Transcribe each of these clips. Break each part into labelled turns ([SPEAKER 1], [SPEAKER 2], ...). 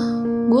[SPEAKER 1] aku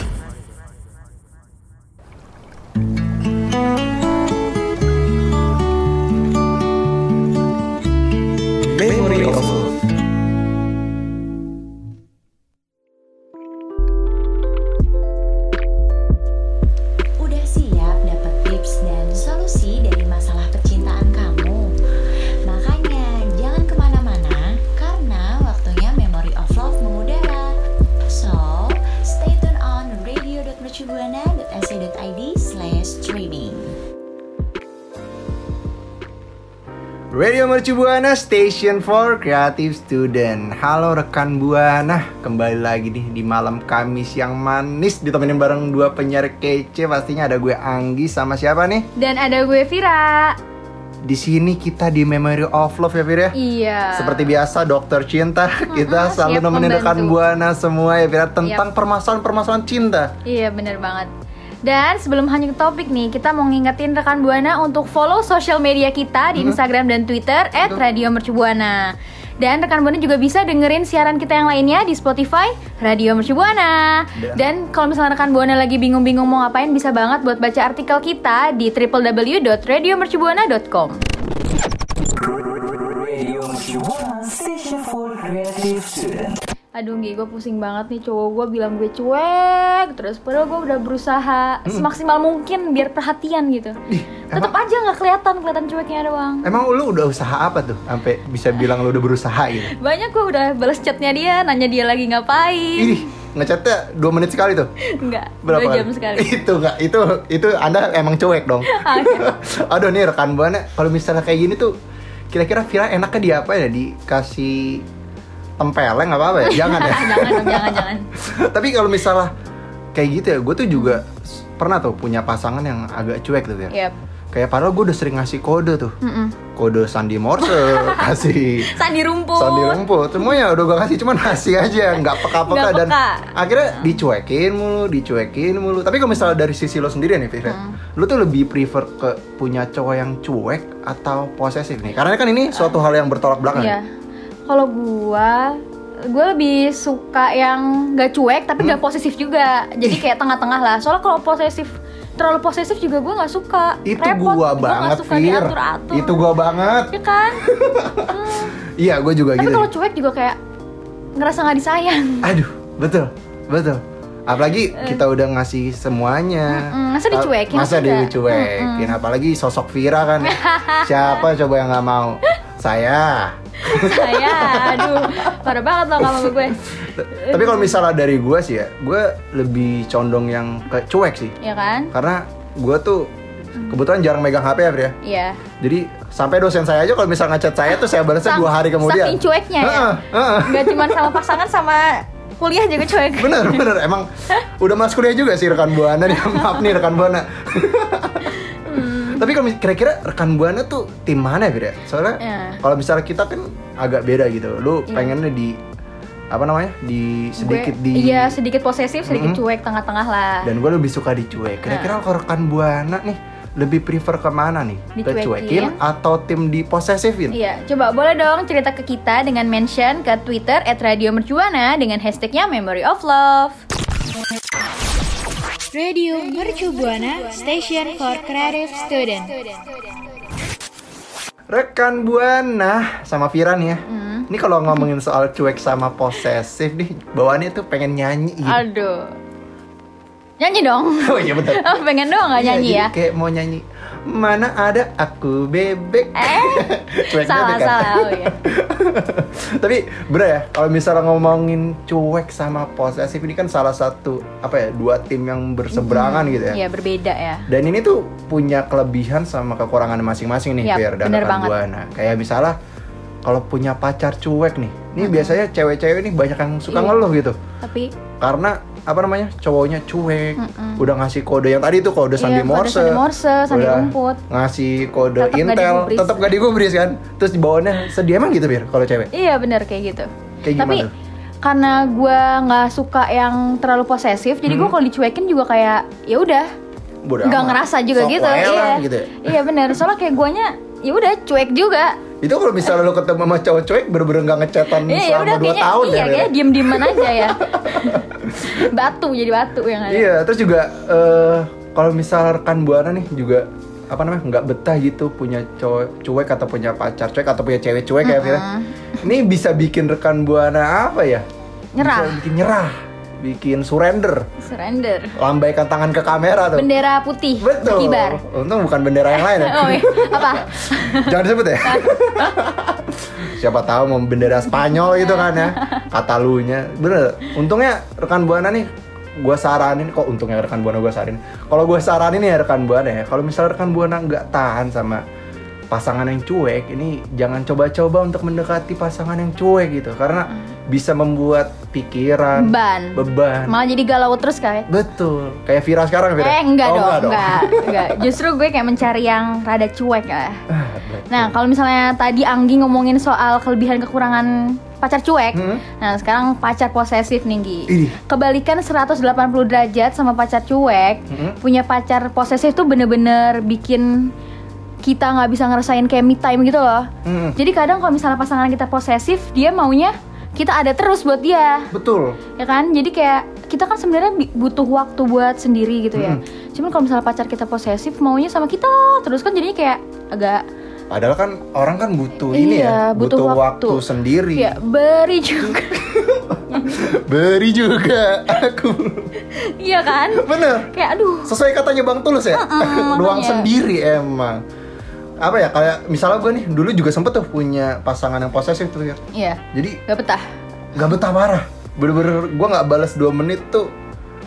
[SPEAKER 2] Memory of Love.
[SPEAKER 3] Udah siap dapat tips dan solusi dari masalah percintaan kamu? Makanya jangan kemana-mana karena waktunya Memory of Love mengudara. So, stay tune on radio.mercubuana.ac.id slash training.
[SPEAKER 2] Radio Mercu Buana Station for Creative Student. Halo rekan Buana, kembali lagi nih di malam Kamis yang manis ditemenin bareng dua penyiar kece. Pastinya ada gue Anggi sama siapa nih?
[SPEAKER 4] Dan ada gue Vira.
[SPEAKER 2] Di sini kita di Memory of Love ya Fir ya.
[SPEAKER 4] Iya.
[SPEAKER 2] Seperti biasa dokter cinta kita selalu
[SPEAKER 4] siap
[SPEAKER 2] nemenin
[SPEAKER 4] membantu.
[SPEAKER 2] rekan Buana semua ya Fir ya, tentang permasalahan-permasalahan cinta.
[SPEAKER 4] Iya bener banget. Dan sebelum hanya ke topik nih, kita mau ngingetin rekan Buana untuk follow sosial media
[SPEAKER 2] Mm-hmm.
[SPEAKER 4] kita di Instagram dan Twitter @radiomercubuana. Dan rekan Buana juga bisa dengerin siaran kita yang lainnya di Spotify Radio Mercubuana.
[SPEAKER 2] Dan-
[SPEAKER 4] Dan kalau misalnya rekan Buana lagi bingung-bingung mau ngapain, bisa banget buat baca artikel kita di www.radiomercubuana.com. Aduh Nggi, gue pusing banget nih cowok gue bilang gue cuek Terus padahal gue udah
[SPEAKER 2] Hmm.
[SPEAKER 4] berusaha semaksimal mungkin biar perhatian gitu
[SPEAKER 2] Ih,
[SPEAKER 4] Tetep aja nggak kelihatan, kelihatan cueknya doang
[SPEAKER 2] Emang lu udah usaha apa tuh sampai bisa bilang lu udah berusaha gitu?
[SPEAKER 4] Banyak gue udah bales chatnya dia, nanya dia lagi ngapain
[SPEAKER 2] Ih, ngechatnya 2 menit sekali tuh.
[SPEAKER 4] Enggak,
[SPEAKER 2] Berapa
[SPEAKER 4] dua jam
[SPEAKER 2] kali?
[SPEAKER 4] sekali
[SPEAKER 2] Itu enggak, itu itu Anda emang cuek dong. Aduh nih rekan buana, kalau misalnya kayak gini tuh kira-kira Vira enaknya di apa ya? Dikasih tempeleng apa apa ya? Jangan ya.
[SPEAKER 4] Jangan dong, jangan, jangan
[SPEAKER 2] Tapi kalau misalnya kayak gitu ya, gue tuh juga s- pernah tuh punya pasangan yang agak cuek tuh Vira.
[SPEAKER 4] Yap
[SPEAKER 2] Kayak padahal gue udah sering ngasih kode tuh.
[SPEAKER 4] Iya. Mm-mm.
[SPEAKER 2] Kode sandi morse, kasih
[SPEAKER 4] Sandi rumput
[SPEAKER 2] Sandi rumput semuanya udah gue kasih cuman nasi aja nggak peka-peka
[SPEAKER 4] Nggak
[SPEAKER 2] dan
[SPEAKER 4] peka. Nah.
[SPEAKER 2] akhirnya dicuekin mulu dicuekin mulu tapi kalau misalnya dari sisi lo sendiri nih Fira
[SPEAKER 4] Hmm.
[SPEAKER 2] lo tuh lebih prefer ke punya cowok yang cuek atau posesif nih karena kan ini suatu hal yang bertolak belakang
[SPEAKER 4] Iya Kalau gue, gue lebih suka yang gak cuek tapi
[SPEAKER 2] Hmm.
[SPEAKER 4] nggak posesif juga Jadi kayak tengah-tengah lah, soalnya kalau posesif terlalu posesif juga gue nggak suka
[SPEAKER 2] itu
[SPEAKER 4] Repot,
[SPEAKER 2] gua
[SPEAKER 4] nggak
[SPEAKER 2] banget
[SPEAKER 4] suka
[SPEAKER 2] Fir
[SPEAKER 4] diatur-atur.
[SPEAKER 2] itu gua banget
[SPEAKER 4] Ya kan?
[SPEAKER 2] iya gue juga
[SPEAKER 4] Tapi
[SPEAKER 2] gitu
[SPEAKER 4] kalau cuek juga kayak ngerasa nggak disayang.
[SPEAKER 2] aduh betul betul apalagi kita udah ngasih semuanya
[SPEAKER 4] Eh. Mm-mm, masa dicuekin,
[SPEAKER 2] masa
[SPEAKER 4] masa nggak?
[SPEAKER 2] dicuekin apalagi sosok Vira kan siapa coba yang nggak mau saya
[SPEAKER 4] Saya, aduh, parah banget loh sama gue.
[SPEAKER 2] tapi kalau misalnya dari gue sih ya gue lebih condong yang ke cuek sih
[SPEAKER 4] Ya kan?
[SPEAKER 2] karena gue tuh
[SPEAKER 4] Mm.
[SPEAKER 2] kebetulan jarang megang HP ya Fir ya
[SPEAKER 4] Iya.
[SPEAKER 2] jadi sampai dosen saya aja kalau misalnya ngechat saya tuh saya balasnya
[SPEAKER 4] Sang-
[SPEAKER 2] dua hari kemudian
[SPEAKER 4] Saking cueknya ya.
[SPEAKER 2] Heeh, heeh.
[SPEAKER 4] Gak cuma sama pasangan sama kuliah juga cuek.
[SPEAKER 2] bener bener emang udah masuk kuliah juga sih rekan buana nih maaf nih rekan buana
[SPEAKER 4] Hmm.
[SPEAKER 2] tapi kalau mis- kira-kira rekan buana tuh tim mana ya, Fir ya soalnya
[SPEAKER 4] Ya.
[SPEAKER 2] kalau misalnya kita kan agak beda gitu lu pengennya di apa namanya di sedikit
[SPEAKER 4] Gue-
[SPEAKER 2] di Hmm.
[SPEAKER 4] Iya, sedikit posesif, sedikit
[SPEAKER 2] Mm-mm.
[SPEAKER 4] cuek, tengah-tengah lah.
[SPEAKER 2] dan gue lebih suka
[SPEAKER 4] Ya.
[SPEAKER 2] dicuek kira-kira kalau rekan buana nih lebih prefer kemana nih
[SPEAKER 4] Dicuekin.
[SPEAKER 2] dicuekin atau tim diposesifin
[SPEAKER 4] Iya, coba boleh dong cerita ke kita dengan mention ke Twitter @radiomercubuana dengan hashtagnya Memory of Love.
[SPEAKER 5] Radio Mercu Buana Station for Creative Student.
[SPEAKER 2] rekan buana sama Vira nih ya
[SPEAKER 4] Hmm.
[SPEAKER 2] ini kalau ngomongin soal cuek sama posesif nih bawaannya tuh pengen nyanyi gitu.
[SPEAKER 4] Aduh. Nyanyi dong.
[SPEAKER 2] oh iya bener
[SPEAKER 4] Oh, pengen doang gak
[SPEAKER 2] Iya,
[SPEAKER 4] nyanyi
[SPEAKER 2] jadi
[SPEAKER 4] ya?
[SPEAKER 2] kayak mau nyanyi mana ada aku bebek
[SPEAKER 4] Eh,
[SPEAKER 2] Cuek
[SPEAKER 4] salah
[SPEAKER 2] bebek kan?
[SPEAKER 4] salah. Oh iya.
[SPEAKER 2] Tapi bener ya, kalau misalnya ngomongin cuek sama posesif ini kan salah satu apa ya dua tim yang berseberangan gitu ya.
[SPEAKER 4] Iya berbeda ya.
[SPEAKER 2] Dan ini tuh punya kelebihan sama kekurangan masing-masing nih,
[SPEAKER 4] Yap,
[SPEAKER 2] Fir dan
[SPEAKER 4] Iya, bener
[SPEAKER 2] rekan
[SPEAKER 4] banget.
[SPEAKER 2] Buana. Kayak misalnya kalau punya pacar cuek nih ini biasanya cewek-cewek nih banyak yang suka
[SPEAKER 4] Mm-hmm. Iya.
[SPEAKER 2] ngeluh gitu
[SPEAKER 4] Tapi
[SPEAKER 2] karena apa namanya cowoknya cuek
[SPEAKER 4] Mm-mm.
[SPEAKER 2] udah ngasih kode yang tadi tuh kode sandi
[SPEAKER 4] Iya, kode
[SPEAKER 2] morse
[SPEAKER 4] Sandi Morse, Sandi
[SPEAKER 2] udah
[SPEAKER 4] rumput.
[SPEAKER 2] ngasih kode
[SPEAKER 4] Tetep gak
[SPEAKER 2] intel
[SPEAKER 4] digubris.
[SPEAKER 2] tetap gak digubris kan terus dibawaannya sedih emang gitu bir kalau cewek
[SPEAKER 4] iya bener kayak gitu.
[SPEAKER 2] Kayak
[SPEAKER 4] Tapi
[SPEAKER 2] gimana?
[SPEAKER 4] karena gua nggak suka yang terlalu posesif, jadi gua kalau dicuekin juga kayak ya udah,
[SPEAKER 2] Bodo
[SPEAKER 4] nggak
[SPEAKER 2] Hmm. amat.
[SPEAKER 4] ngerasa juga
[SPEAKER 2] Sok
[SPEAKER 4] gitu.
[SPEAKER 2] wae
[SPEAKER 4] Iya,
[SPEAKER 2] lah, gitu ya.
[SPEAKER 4] iya bener. Soalnya kayak guanya ya udah cuek juga.
[SPEAKER 2] itu kalau misalnya lo ketemu sama cowok cuek bener-bener gak ngecatan
[SPEAKER 4] Iya, ya
[SPEAKER 2] selama
[SPEAKER 4] udah
[SPEAKER 2] 2
[SPEAKER 4] kayaknya
[SPEAKER 2] tahun
[SPEAKER 4] iya,
[SPEAKER 2] ya Rere.
[SPEAKER 4] kayaknya diem-dieman aja ya. batu jadi batu yang ada.
[SPEAKER 2] Iya, terus juga eh kalau misal rekan buana nih juga apa namanya nggak betah gitu punya cowok cuek atau punya pacar cuek atau punya cewek cuek kayak gitu. Ini bisa bikin rekan buana apa ya?
[SPEAKER 4] Nyerah.
[SPEAKER 2] Bisa bikin nyerah, bikin surrender,
[SPEAKER 4] Surrender.
[SPEAKER 2] lambaikan tangan ke kamera tuh.
[SPEAKER 4] Bendera putih
[SPEAKER 2] Betul.
[SPEAKER 4] berkibar.
[SPEAKER 2] Untung bukan bendera yang lain. ya.
[SPEAKER 4] Oh, iya. apa?
[SPEAKER 2] Jangan disebut ya. Siapa tahu mau bendera Spanyol gitu kan ya. Katalunya. Bener. Untungnya rekan buana nih gue saranin kok untungnya rekan buana gue saranin. Kalau gue saranin ya rekan buana ya. Kalau misalnya rekan buana nggak tahan sama pasangan yang cuek, ini jangan coba-coba untuk mendekati pasangan yang cuek gitu karena
[SPEAKER 4] Hmm.
[SPEAKER 2] bisa membuat pikiran
[SPEAKER 4] Beban.
[SPEAKER 2] beban.
[SPEAKER 4] Malah jadi galau terus kayak.
[SPEAKER 2] Betul. Kayak Vira sekarang Vira.
[SPEAKER 4] Eh
[SPEAKER 2] Oh,
[SPEAKER 4] enggak dong, enggak, enggak, Justru gue kayak mencari yang rada cuek ya.
[SPEAKER 2] Ah, betul.
[SPEAKER 4] Nah, kalau misalnya tadi Anggi ngomongin soal kelebihan kekurangan pacar cuek.
[SPEAKER 2] Hmm.
[SPEAKER 4] Nah, sekarang pacar posesif nih, Gi.
[SPEAKER 2] Ini.
[SPEAKER 4] Kebalikan 180 derajat sama pacar cuek.
[SPEAKER 2] Hmm.
[SPEAKER 4] Punya pacar posesif tuh bener-bener bikin kita nggak bisa ngerasain kayak me time gitu loh.
[SPEAKER 2] Hmm.
[SPEAKER 4] Jadi kadang kalau misalnya pasangan kita posesif, dia maunya kita ada terus buat dia
[SPEAKER 2] Betul.
[SPEAKER 4] ya kan jadi kayak kita kan sebenarnya bi- butuh waktu buat sendiri gitu ya
[SPEAKER 2] Hmm.
[SPEAKER 4] cuman kalau misalnya pacar kita posesif maunya sama kita terus kan jadinya kayak agak
[SPEAKER 2] Padahal kan orang kan butuh ini ya,
[SPEAKER 4] Iya, butuh
[SPEAKER 2] waktu.
[SPEAKER 4] waktu.
[SPEAKER 2] sendiri.
[SPEAKER 4] ya beri juga
[SPEAKER 2] Beri juga aku.
[SPEAKER 4] iya kan
[SPEAKER 2] Bener.
[SPEAKER 4] kayak aduh
[SPEAKER 2] Sesuai katanya Bang Tulus ya.
[SPEAKER 4] Mm-mm,
[SPEAKER 2] Doang
[SPEAKER 4] makanya.
[SPEAKER 2] sendiri emang. Apa ya kayak misalnya gue nih dulu juga sempet tuh punya pasangan yang posesif tuh ya.
[SPEAKER 4] iya
[SPEAKER 2] Jadi
[SPEAKER 4] gak betah
[SPEAKER 2] gak betah parah. Bener-bener gue nggak balas 2 menit tuh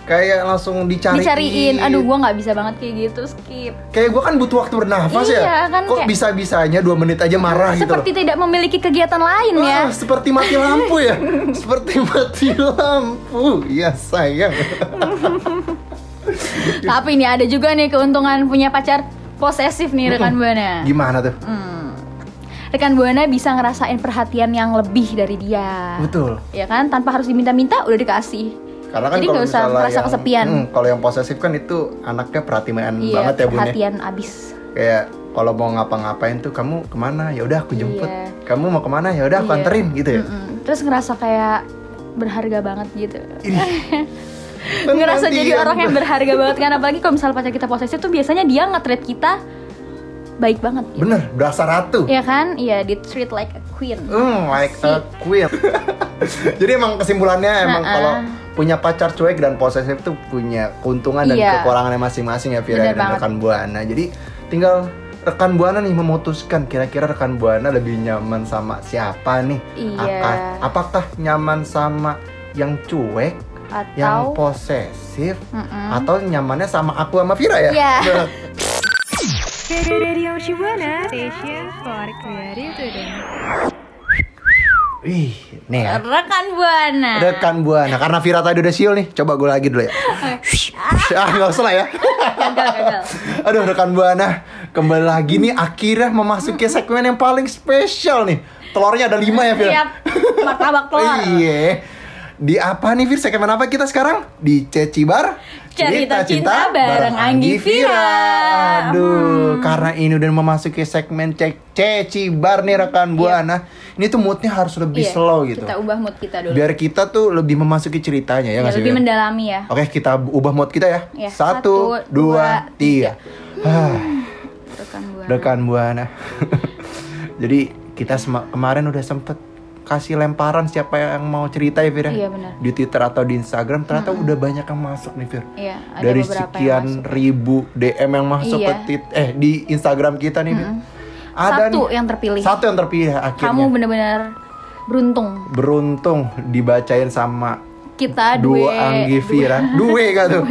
[SPEAKER 2] kayak langsung dicariin.
[SPEAKER 4] dicariin aduh gua nggak bisa banget kayak gitu skip
[SPEAKER 2] Kayak gue kan butuh waktu bernafas
[SPEAKER 4] Iya,
[SPEAKER 2] ya.
[SPEAKER 4] kan,
[SPEAKER 2] Kok
[SPEAKER 4] kayak-
[SPEAKER 2] bisa-bisanya 2 menit aja marah gitu loh.
[SPEAKER 4] seperti tidak memiliki kegiatan lain
[SPEAKER 2] Ah,
[SPEAKER 4] ya
[SPEAKER 2] seperti mati lampu ya. seperti mati lampu. Ya sayang.
[SPEAKER 4] Iya. tapi ini ada juga nih keuntungan punya pacar posesif nih rekan buana
[SPEAKER 2] Gimana tuh?
[SPEAKER 4] Hmm. rekan buana bisa ngerasain perhatian yang lebih dari dia
[SPEAKER 2] Betul.
[SPEAKER 4] ya kan tanpa harus diminta-minta udah dikasih
[SPEAKER 2] Karena kan
[SPEAKER 4] Jadi
[SPEAKER 2] kalau
[SPEAKER 4] nggak usah
[SPEAKER 2] misalnya
[SPEAKER 4] merasa
[SPEAKER 2] yang-
[SPEAKER 4] kesepian.
[SPEAKER 2] Hmm, kalau yang posesif kan itu anaknya perhatian
[SPEAKER 4] iya
[SPEAKER 2] banget ya bun ya.
[SPEAKER 4] perhatian abis
[SPEAKER 2] Kayak kalau mau ngapa-ngapain tuh kamu kemana? Ya udah aku jemput.
[SPEAKER 4] Iya.
[SPEAKER 2] Kamu mau kemana? Ya udah aku
[SPEAKER 4] Iya.
[SPEAKER 2] anterin gitu ya.
[SPEAKER 4] Mm-mm. terus ngerasa kayak berharga banget gitu
[SPEAKER 2] Ini. Kan
[SPEAKER 4] ngerasa jadi
[SPEAKER 2] Penantian
[SPEAKER 4] orang yang berharga banget kan apalagi kalau misalnya pacar kita posesif tuh biasanya dia nge-treat kita baik banget gitu.
[SPEAKER 2] Bener, berasa ratu.
[SPEAKER 4] Iya kan? Iya, di treat like a queen.
[SPEAKER 2] Hmm, like a queen. Jadi emang kesimpulannya emang
[SPEAKER 4] Nah,
[SPEAKER 2] kalau punya pacar cuek dan posesif tuh punya keuntungan dan
[SPEAKER 4] Iya.
[SPEAKER 2] kekurangannya masing-masing ya Vira dan
[SPEAKER 4] Bener banget.
[SPEAKER 2] rekan buana. Jadi tinggal rekan buana nih memutuskan kira-kira rekan buana lebih nyaman sama siapa nih?
[SPEAKER 4] Iya.
[SPEAKER 2] Apa- apakah nyaman sama yang cuek, yang
[SPEAKER 4] Atau
[SPEAKER 2] posesif,
[SPEAKER 4] Mm-mm.
[SPEAKER 2] atau nyamannya sama aku sama Vira ya?
[SPEAKER 4] Iya.
[SPEAKER 5] Station for Creative Student.
[SPEAKER 2] Wih, nih ya.
[SPEAKER 4] rekan buana.
[SPEAKER 2] Rekan buana, karena Vira tadi udah siul nih, coba gue lagi dulu ya. ah nggak usah lah ya.
[SPEAKER 4] Gagal, gagal.
[SPEAKER 2] Aduh rekan buana, kembali lagi nih akhirnya memasuki segmen yang paling spesial nih. Telurnya ada lima ya Vira.
[SPEAKER 4] Siap. Martabak telur.
[SPEAKER 2] Iya. Di apa nih Vir? Segmen apa kita sekarang? Di Cecibar
[SPEAKER 4] Cerita Cinta bareng Anggi Hmm. Vira.
[SPEAKER 2] Aduh, karena ini udah memasuki segmen Cek Cecibar nih rekan buana. Ini tuh moodnya harus lebih
[SPEAKER 4] Iya,
[SPEAKER 2] slow gitu.
[SPEAKER 4] Kita ubah mood kita dulu.
[SPEAKER 2] Biar kita tuh lebih memasuki ceritanya ya
[SPEAKER 4] Ya,
[SPEAKER 2] nggak sih, Oh.
[SPEAKER 4] lebih
[SPEAKER 2] Vir?
[SPEAKER 4] mendalami ya.
[SPEAKER 2] Oke, kita ubah mode kita ya.
[SPEAKER 4] Iya,
[SPEAKER 2] Satu,
[SPEAKER 4] satu,
[SPEAKER 2] dua,
[SPEAKER 4] dua,
[SPEAKER 2] tiga. Ah. Hah,
[SPEAKER 4] Rekan buana.
[SPEAKER 2] rekan buana. Jadi kita sema- kemarin udah sempet kasih lemparan siapa yang mau cerita ya Fir ya?
[SPEAKER 4] Iya, benar.
[SPEAKER 2] di Twitter atau di Instagram ternyata udah banyak yang masuk nih Fir
[SPEAKER 4] Iya, ada
[SPEAKER 2] dari
[SPEAKER 4] beberapa yang
[SPEAKER 2] sekian
[SPEAKER 4] masuk.
[SPEAKER 2] ribu DM yang masuk
[SPEAKER 4] Iya.
[SPEAKER 2] ke tweet eh di Instagram kita nih Fir ada
[SPEAKER 4] Satu
[SPEAKER 2] nih,
[SPEAKER 4] yang terpilih.
[SPEAKER 2] satu yang terpilih
[SPEAKER 4] Kamu
[SPEAKER 2] akhirnya
[SPEAKER 4] benar-benar beruntung.
[SPEAKER 2] beruntung dibacain sama
[SPEAKER 4] Kita
[SPEAKER 2] Duo
[SPEAKER 4] dua
[SPEAKER 2] Anggi Vira Due kah tuh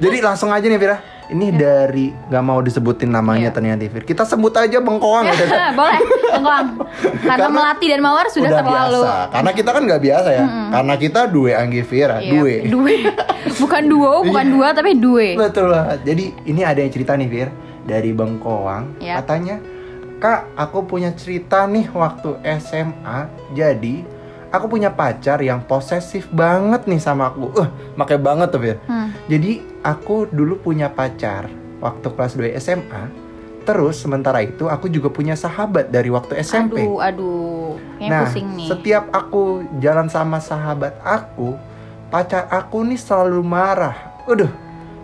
[SPEAKER 2] Jadi langsung aja nih Vira
[SPEAKER 4] Ya.
[SPEAKER 2] Ini dari nggak mau disebutin
[SPEAKER 4] Iya.
[SPEAKER 2] namanya ternyata Fir. Kita sebut aja Bengkoang ya. Dad.
[SPEAKER 4] Boleh, Bengkoang. Karena,
[SPEAKER 2] Karena
[SPEAKER 4] melati dan mawar sudah, terlalu.
[SPEAKER 2] biasa. Karena kita kan nggak biasa ya. Karena kita duwe Anggi Fira,
[SPEAKER 4] Iya,
[SPEAKER 2] duwe.
[SPEAKER 4] Duwe. Bukan
[SPEAKER 2] Iya.
[SPEAKER 4] duo, bukan dua tapi duwe.
[SPEAKER 2] Betul banget. Jadi ini ada yang cerita nih Fir dari Bengkoang.
[SPEAKER 4] Ya.
[SPEAKER 2] Katanya, "Kak, aku punya cerita nih waktu SMA. Jadi, aku punya pacar yang posesif banget nih sama aku. Eh, makai banget tuh Fir.
[SPEAKER 4] Hmm.
[SPEAKER 2] Jadi, aku dulu punya pacar waktu kelas 2 SMA. Terus sementara itu aku juga punya sahabat dari waktu SMP.
[SPEAKER 4] Aduh, aduh. Kayaknya
[SPEAKER 2] Nah,
[SPEAKER 4] pusing nih.
[SPEAKER 2] setiap aku jalan sama sahabat aku, pacar aku nih selalu marah. Aduh,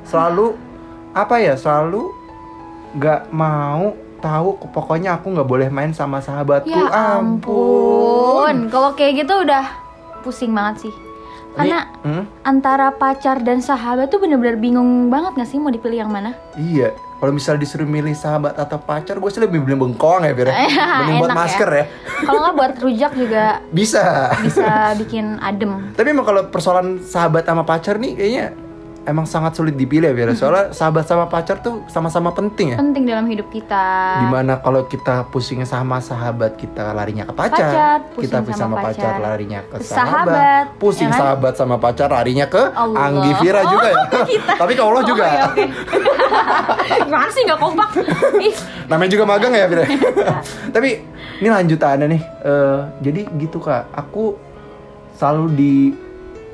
[SPEAKER 2] selalu apa ya? Selalu nggak mau tahu. Pokoknya aku nggak boleh main sama sahabatku.
[SPEAKER 4] Ya ampun, kalau kayak gitu udah pusing banget sih. Karena
[SPEAKER 2] Ini- hmm?
[SPEAKER 4] antara pacar dan sahabat tuh bener-bener bingung banget gak sih mau dipilih yang mana?
[SPEAKER 2] Iya, kalau misal disuruh milih sahabat atau pacar, gue sih lebih beli bengkoang ya, Fir. Mending buat
[SPEAKER 4] Enak ya.
[SPEAKER 2] masker ya.
[SPEAKER 4] Kalau nggak buat rujak juga
[SPEAKER 2] Bisa.
[SPEAKER 4] bisa bikin adem.
[SPEAKER 2] Tapi emang kalau persoalan sahabat sama pacar nih kayaknya emang sangat sulit dipilih ya, Fir. Soalnya sahabat sama pacar tuh sama-sama penting ya.
[SPEAKER 4] Penting dalam hidup kita.
[SPEAKER 2] Dimana kalau kita pusingnya sama sahabat kita larinya ke pacar,
[SPEAKER 4] Pacar, pusing
[SPEAKER 2] kita pusing
[SPEAKER 4] sama
[SPEAKER 2] sama pacar,
[SPEAKER 4] pacar.
[SPEAKER 2] larinya ke
[SPEAKER 4] Sahabat,
[SPEAKER 2] sahabat, pusing
[SPEAKER 4] ya kan?
[SPEAKER 2] sahabat sama pacar larinya ke
[SPEAKER 4] Allah. Oh,
[SPEAKER 2] Anggi Vira juga ya. Tapi ke Allah juga.
[SPEAKER 4] ya, oke. Gimana Eh, sih nggak kompak? Ih,
[SPEAKER 2] Namanya juga magang ya Vira. Tapi ini lanjutannya nih. Eh, jadi gitu kak, aku selalu di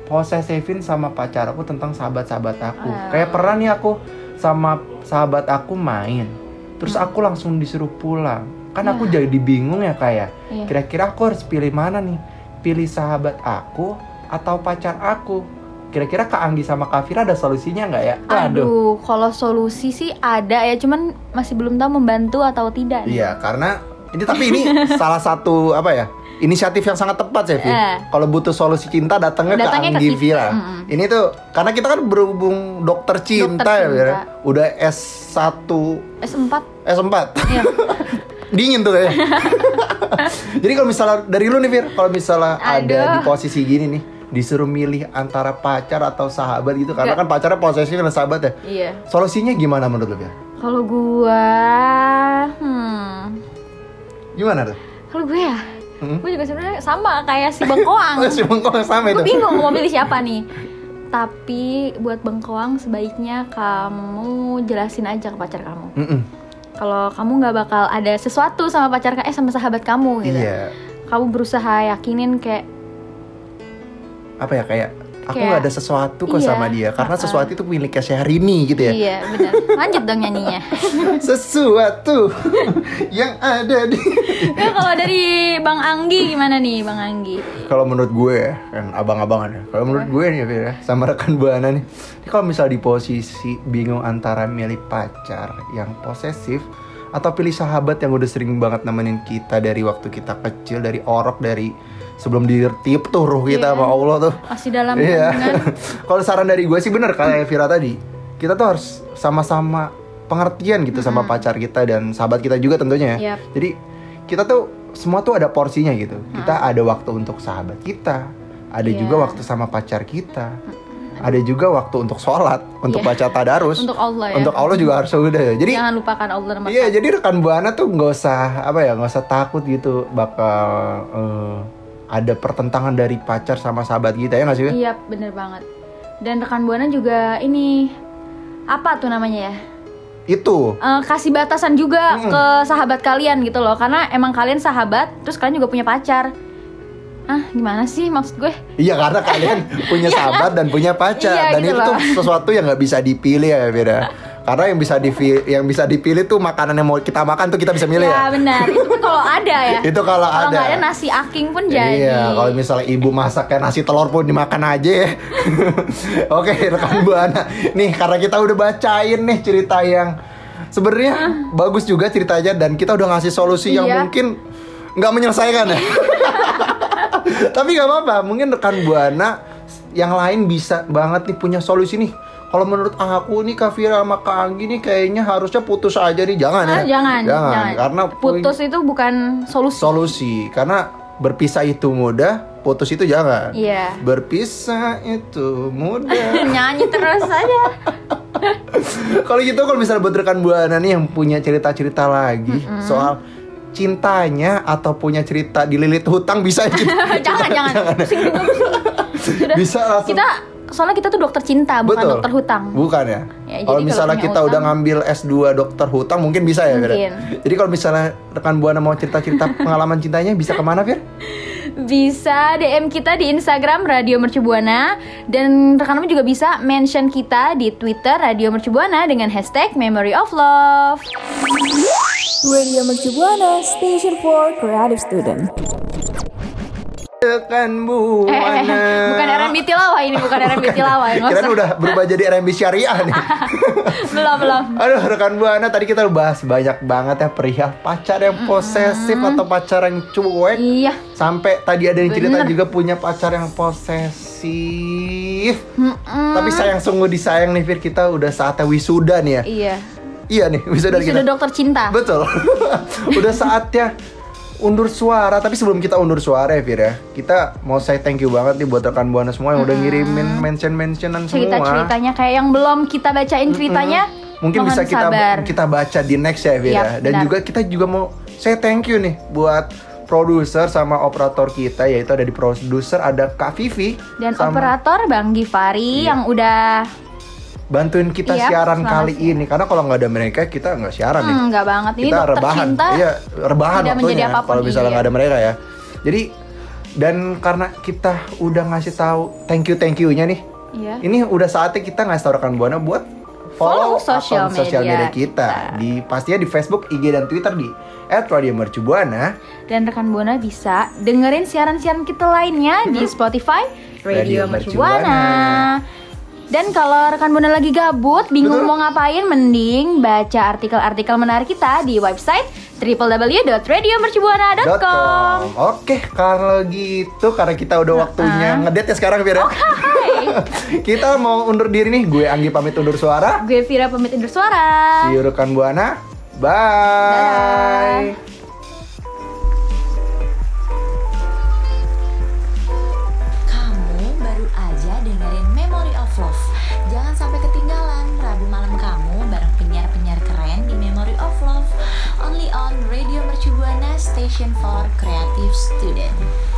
[SPEAKER 2] posesifin sama pacar aku tentang sahabat-sahabat aku.
[SPEAKER 4] Ah.
[SPEAKER 2] Kayak pernah nih aku sama sahabat aku main, terus
[SPEAKER 4] Hmm.
[SPEAKER 2] aku langsung disuruh pulang. Kan aku jadi bingung ya kayak.
[SPEAKER 4] Iya.
[SPEAKER 2] Kira-kira aku harus pilih mana nih? Pilih sahabat aku atau pacar aku? Kira-kira Kak Anggi sama Kak Vira ada solusinya nggak ya?
[SPEAKER 4] Aduh, kalau solusi sih ada ya, cuman masih belum tahu membantu atau tidak. nih.
[SPEAKER 2] Iya, karena ini tapi ini salah satu apa ya? Inisiatif yang sangat tepat, Sevi.
[SPEAKER 4] Eh.
[SPEAKER 2] Kalau butuh solusi cinta datangnya ke
[SPEAKER 4] Datangnya ke
[SPEAKER 2] Anggi
[SPEAKER 4] kita,
[SPEAKER 2] Vira.
[SPEAKER 4] mm-mm.
[SPEAKER 2] Ini tuh karena kita kan berhubung dokter cinta, ya,
[SPEAKER 4] cinta.
[SPEAKER 2] Vira. Udah S1
[SPEAKER 4] S4
[SPEAKER 2] S4.
[SPEAKER 4] Iya.
[SPEAKER 2] Dingin tuh kayaknya. Jadi kalau misalnya dari lu nih, Vir, kalau misalnya ada
[SPEAKER 4] Aduh.
[SPEAKER 2] di posisi gini nih, disuruh milih antara pacar atau sahabat gitu karena
[SPEAKER 4] Nggak.
[SPEAKER 2] kan pacarnya posesif dan sahabat ya.
[SPEAKER 4] Iya.
[SPEAKER 2] Solusinya gimana menurut lu, Vir?
[SPEAKER 4] Kalau gua hmm
[SPEAKER 2] Gimana tuh?
[SPEAKER 4] Kalau gue ya,
[SPEAKER 2] Hmm?
[SPEAKER 4] gue juga sebenarnya sama kayak si Bengkoang.
[SPEAKER 2] Oh, si bengkong sama itu.
[SPEAKER 4] gue bingung mau pilih siapa nih. Tapi buat Bengkoang sebaiknya kamu jelasin aja ke pacar kamu.
[SPEAKER 2] Mm-mm.
[SPEAKER 4] Kalau kamu nggak bakal ada sesuatu sama pacar eh sama sahabat kamu gitu.
[SPEAKER 2] Iya.
[SPEAKER 4] Kamu berusaha yakinin kayak
[SPEAKER 2] Apa ya kayak aku
[SPEAKER 4] Kayak-
[SPEAKER 2] nggak ada sesuatu kok
[SPEAKER 4] Iya,
[SPEAKER 2] sama dia karena
[SPEAKER 4] uh-uh.
[SPEAKER 2] sesuatu itu miliknya Syahrini gitu ya.
[SPEAKER 4] iya benar. Lanjut dong nyanyinya.
[SPEAKER 2] Sesuatu yang ada di
[SPEAKER 4] Ya, kalau dari Bang Anggi gimana nih Bang Anggi?
[SPEAKER 2] Kalau menurut gue ya, kan abang-abangan ya. Kalau menurut
[SPEAKER 4] Iya.
[SPEAKER 2] gue nih Fir ya, sama rekan Buana nih. Ini kalau misalnya di posisi bingung antara milih pacar yang posesif atau pilih sahabat yang udah sering banget nemenin kita dari waktu kita kecil, dari orok, dari sebelum ditiup tuh ruh kita
[SPEAKER 4] Iya.
[SPEAKER 2] sama Allah tuh.
[SPEAKER 4] Masih dalam
[SPEAKER 2] Iya.
[SPEAKER 4] hubungan
[SPEAKER 2] Kalau saran dari gue sih bener kayak Vira tadi. Kita tuh harus sama-sama pengertian gitu sama pacar kita dan sahabat kita juga tentunya ya.
[SPEAKER 4] Yap.
[SPEAKER 2] Jadi kita tuh semua tuh ada porsinya gitu. Kita ada waktu untuk sahabat kita, ada
[SPEAKER 4] Iya.
[SPEAKER 2] juga waktu sama pacar kita. Ada juga waktu untuk sholat, untuk baca tadarus,
[SPEAKER 4] Iya. untuk Allah ya.
[SPEAKER 2] untuk Allah juga harus udah. ya. Jadi
[SPEAKER 4] Jangan lupakan Allah nomor
[SPEAKER 2] Iya, jadi rekan buana tuh nggak usah apa ya, nggak usah takut gitu bakal eh, ada pertentangan dari pacar sama sahabat kita ya nggak sih? Wi?
[SPEAKER 4] Iya, bener banget. Dan rekan buana juga ini apa tuh namanya ya?
[SPEAKER 2] Itu
[SPEAKER 4] Eh, kasih batasan juga ke sahabat kalian gitu loh, karena emang kalian sahabat, terus kalian juga punya pacar. Ah, gimana sih maksud gue?
[SPEAKER 2] iya karena kalian punya sahabat dan punya pacar
[SPEAKER 4] Iya,
[SPEAKER 2] dan
[SPEAKER 4] gitu
[SPEAKER 2] itu
[SPEAKER 4] loh.
[SPEAKER 2] tuh sesuatu yang nggak bisa dipilih ya beda. Karena yang bisa dipi- yang bisa dipilih tuh makanan yang mau kita makan tuh kita bisa milih ya.
[SPEAKER 4] ya, benar. Itu pun kalau ada ya.
[SPEAKER 2] Itu kalau ada.
[SPEAKER 4] kalau nggak ada nasi aking pun jadi.
[SPEAKER 2] Iya, kalau misalnya ibu masak kayak nasi telur pun dimakan aja ya. Oke, rekan Buana. Nih, karena kita udah bacain nih cerita yang sebenarnya bagus juga ceritanya dan kita udah ngasih solusi yang
[SPEAKER 4] Ah. Iya.
[SPEAKER 2] mungkin nggak menyelesaikan ya. Tapi nggak apa-apa, mungkin rekan Buana yang lain bisa banget nih punya solusi nih. Kalau menurut aku nih Kak Vira sama Kak Anggi nih kayaknya harusnya putus aja nih, jangan
[SPEAKER 4] Ah,
[SPEAKER 2] ya.
[SPEAKER 4] jangan, jangan.
[SPEAKER 2] Karena
[SPEAKER 4] putus itu bukan solusi.
[SPEAKER 2] solusi karena berpisah itu mudah, putus itu jangan.
[SPEAKER 4] Iya.
[SPEAKER 2] Berpisah itu mudah.
[SPEAKER 4] Nyanyi terus aja.
[SPEAKER 2] kalau gitu kalau misalnya buat rekan buana nih yang punya cerita-cerita lagi soal cintanya atau punya cerita dililit hutang bisa aja.
[SPEAKER 4] jangan, jangan. Pusing juga, pusing. Sudah.
[SPEAKER 2] bisa langsung.
[SPEAKER 4] Kita soalnya kita tuh dokter cinta, bukan
[SPEAKER 2] Betul.
[SPEAKER 4] dokter hutang.
[SPEAKER 2] Bukan ya.
[SPEAKER 4] Ya, jadi
[SPEAKER 2] kalau
[SPEAKER 4] kalau
[SPEAKER 2] misalnya
[SPEAKER 4] punya
[SPEAKER 2] kita
[SPEAKER 4] hutang-
[SPEAKER 2] udah ngambil S2 dokter hutang mungkin bisa ya, Fir?
[SPEAKER 4] Mungkin.
[SPEAKER 2] Jadi kalau misalnya rekan Buana mau cerita-cerita pengalaman cintanya bisa kemana, Fir?
[SPEAKER 4] Eh, Bisa DM kita di Instagram Radio Mercubuana dan rekanmu juga bisa mention kita di Twitter Radio Mercubuana dengan hashtag Memory of Love.
[SPEAKER 6] Radio Mercubuana, station for creative student.
[SPEAKER 2] Rekan
[SPEAKER 4] Eh, eh,
[SPEAKER 2] Buana.
[SPEAKER 4] eh, bukan R&B tilawah ini, bukan R&B tilawah. ya, Nggak
[SPEAKER 2] Kirain
[SPEAKER 4] usah.
[SPEAKER 2] udah berubah jadi R&B syariah nih.
[SPEAKER 4] belum, belum.
[SPEAKER 2] Aduh, rekan Buana tadi kita bahas banyak banget ya perihal pacar yang posesif atau pacar yang cuek.
[SPEAKER 4] Iya.
[SPEAKER 2] Sampai tadi ada yang cerita
[SPEAKER 4] Bener.
[SPEAKER 2] juga punya pacar yang posesif.
[SPEAKER 4] Mm-mm.
[SPEAKER 2] Tapi sayang sungguh disayang nih Fir kita udah saatnya wisuda nih ya.
[SPEAKER 4] Iya.
[SPEAKER 2] Iya nih wisuda kita.
[SPEAKER 4] Sudah dokter cinta.
[SPEAKER 2] Betul. Udah saatnya undur suara. Tapi sebelum kita undur suara ya Fir ya, kita mau say thank you banget nih buat rekan buana semua yang udah ngirimin mention-mentionan semua.
[SPEAKER 4] cerita-ceritanya kayak yang belum kita bacain ceritanya
[SPEAKER 2] Mungkin
[SPEAKER 4] mohon
[SPEAKER 2] bisa kita
[SPEAKER 4] sabar.
[SPEAKER 2] kita baca di next ya Fir
[SPEAKER 4] Iya,
[SPEAKER 2] ya. Dan
[SPEAKER 4] benar.
[SPEAKER 2] juga kita juga mau say thank you nih buat produser sama operator kita yaitu ada di produser ada Kak Vivi
[SPEAKER 4] dan
[SPEAKER 2] sama Iya.
[SPEAKER 4] operator Bang Givari yang udah
[SPEAKER 2] bantuin kita
[SPEAKER 4] Iya,
[SPEAKER 2] siaran
[SPEAKER 4] selamat
[SPEAKER 2] kali
[SPEAKER 4] siang.
[SPEAKER 2] ini karena kalau nggak ada mereka kita nggak siaran nih.
[SPEAKER 4] hmm, nggak banget ini
[SPEAKER 2] kita
[SPEAKER 4] dokter
[SPEAKER 2] rebahan
[SPEAKER 4] cinta
[SPEAKER 2] iya rebahan
[SPEAKER 4] tidak menjadi
[SPEAKER 2] waktunya
[SPEAKER 4] apapun,
[SPEAKER 2] kalau misalnya
[SPEAKER 4] iya.
[SPEAKER 2] nggak ada mereka ya jadi dan karena kita udah ngasih tahu thank you thank you-nya nih
[SPEAKER 4] Iya.
[SPEAKER 2] ini udah saatnya kita ngasih tahu rekan buana buat follow,
[SPEAKER 4] Follow sosial
[SPEAKER 2] akun sosial media,
[SPEAKER 4] media
[SPEAKER 2] kita. di pastinya di Facebook, IG dan Twitter di @radiomercubuana.
[SPEAKER 4] dan rekan Buana bisa dengerin siaran-siaran kita lainnya di Spotify
[SPEAKER 2] Radio
[SPEAKER 4] Radio
[SPEAKER 2] Mercubuana.
[SPEAKER 4] Mercubuana. Dan kalau rekan Buana lagi gabut, bingung
[SPEAKER 2] Betul.
[SPEAKER 4] mau ngapain, mending baca artikel-artikel menarik kita di website www.radiomercubuana.com.
[SPEAKER 2] Oke, kalau gitu karena kita udah waktunya ngedate ya sekarang
[SPEAKER 4] Oh,
[SPEAKER 2] Fira. kita mau undur diri nih. Gue Anggi pamit undur suara.
[SPEAKER 4] Gue Vira pamit undur suara.
[SPEAKER 2] See you rekan buana. Bye.
[SPEAKER 4] Dadah.
[SPEAKER 3] Kamu baru aja dengerin Memory of Love. Jangan sampai ketinggalan Rabu malam kamu bareng penyiar-penyiar keren di Memory of Love. Only on Radio Mercubuana Station for Creative Student.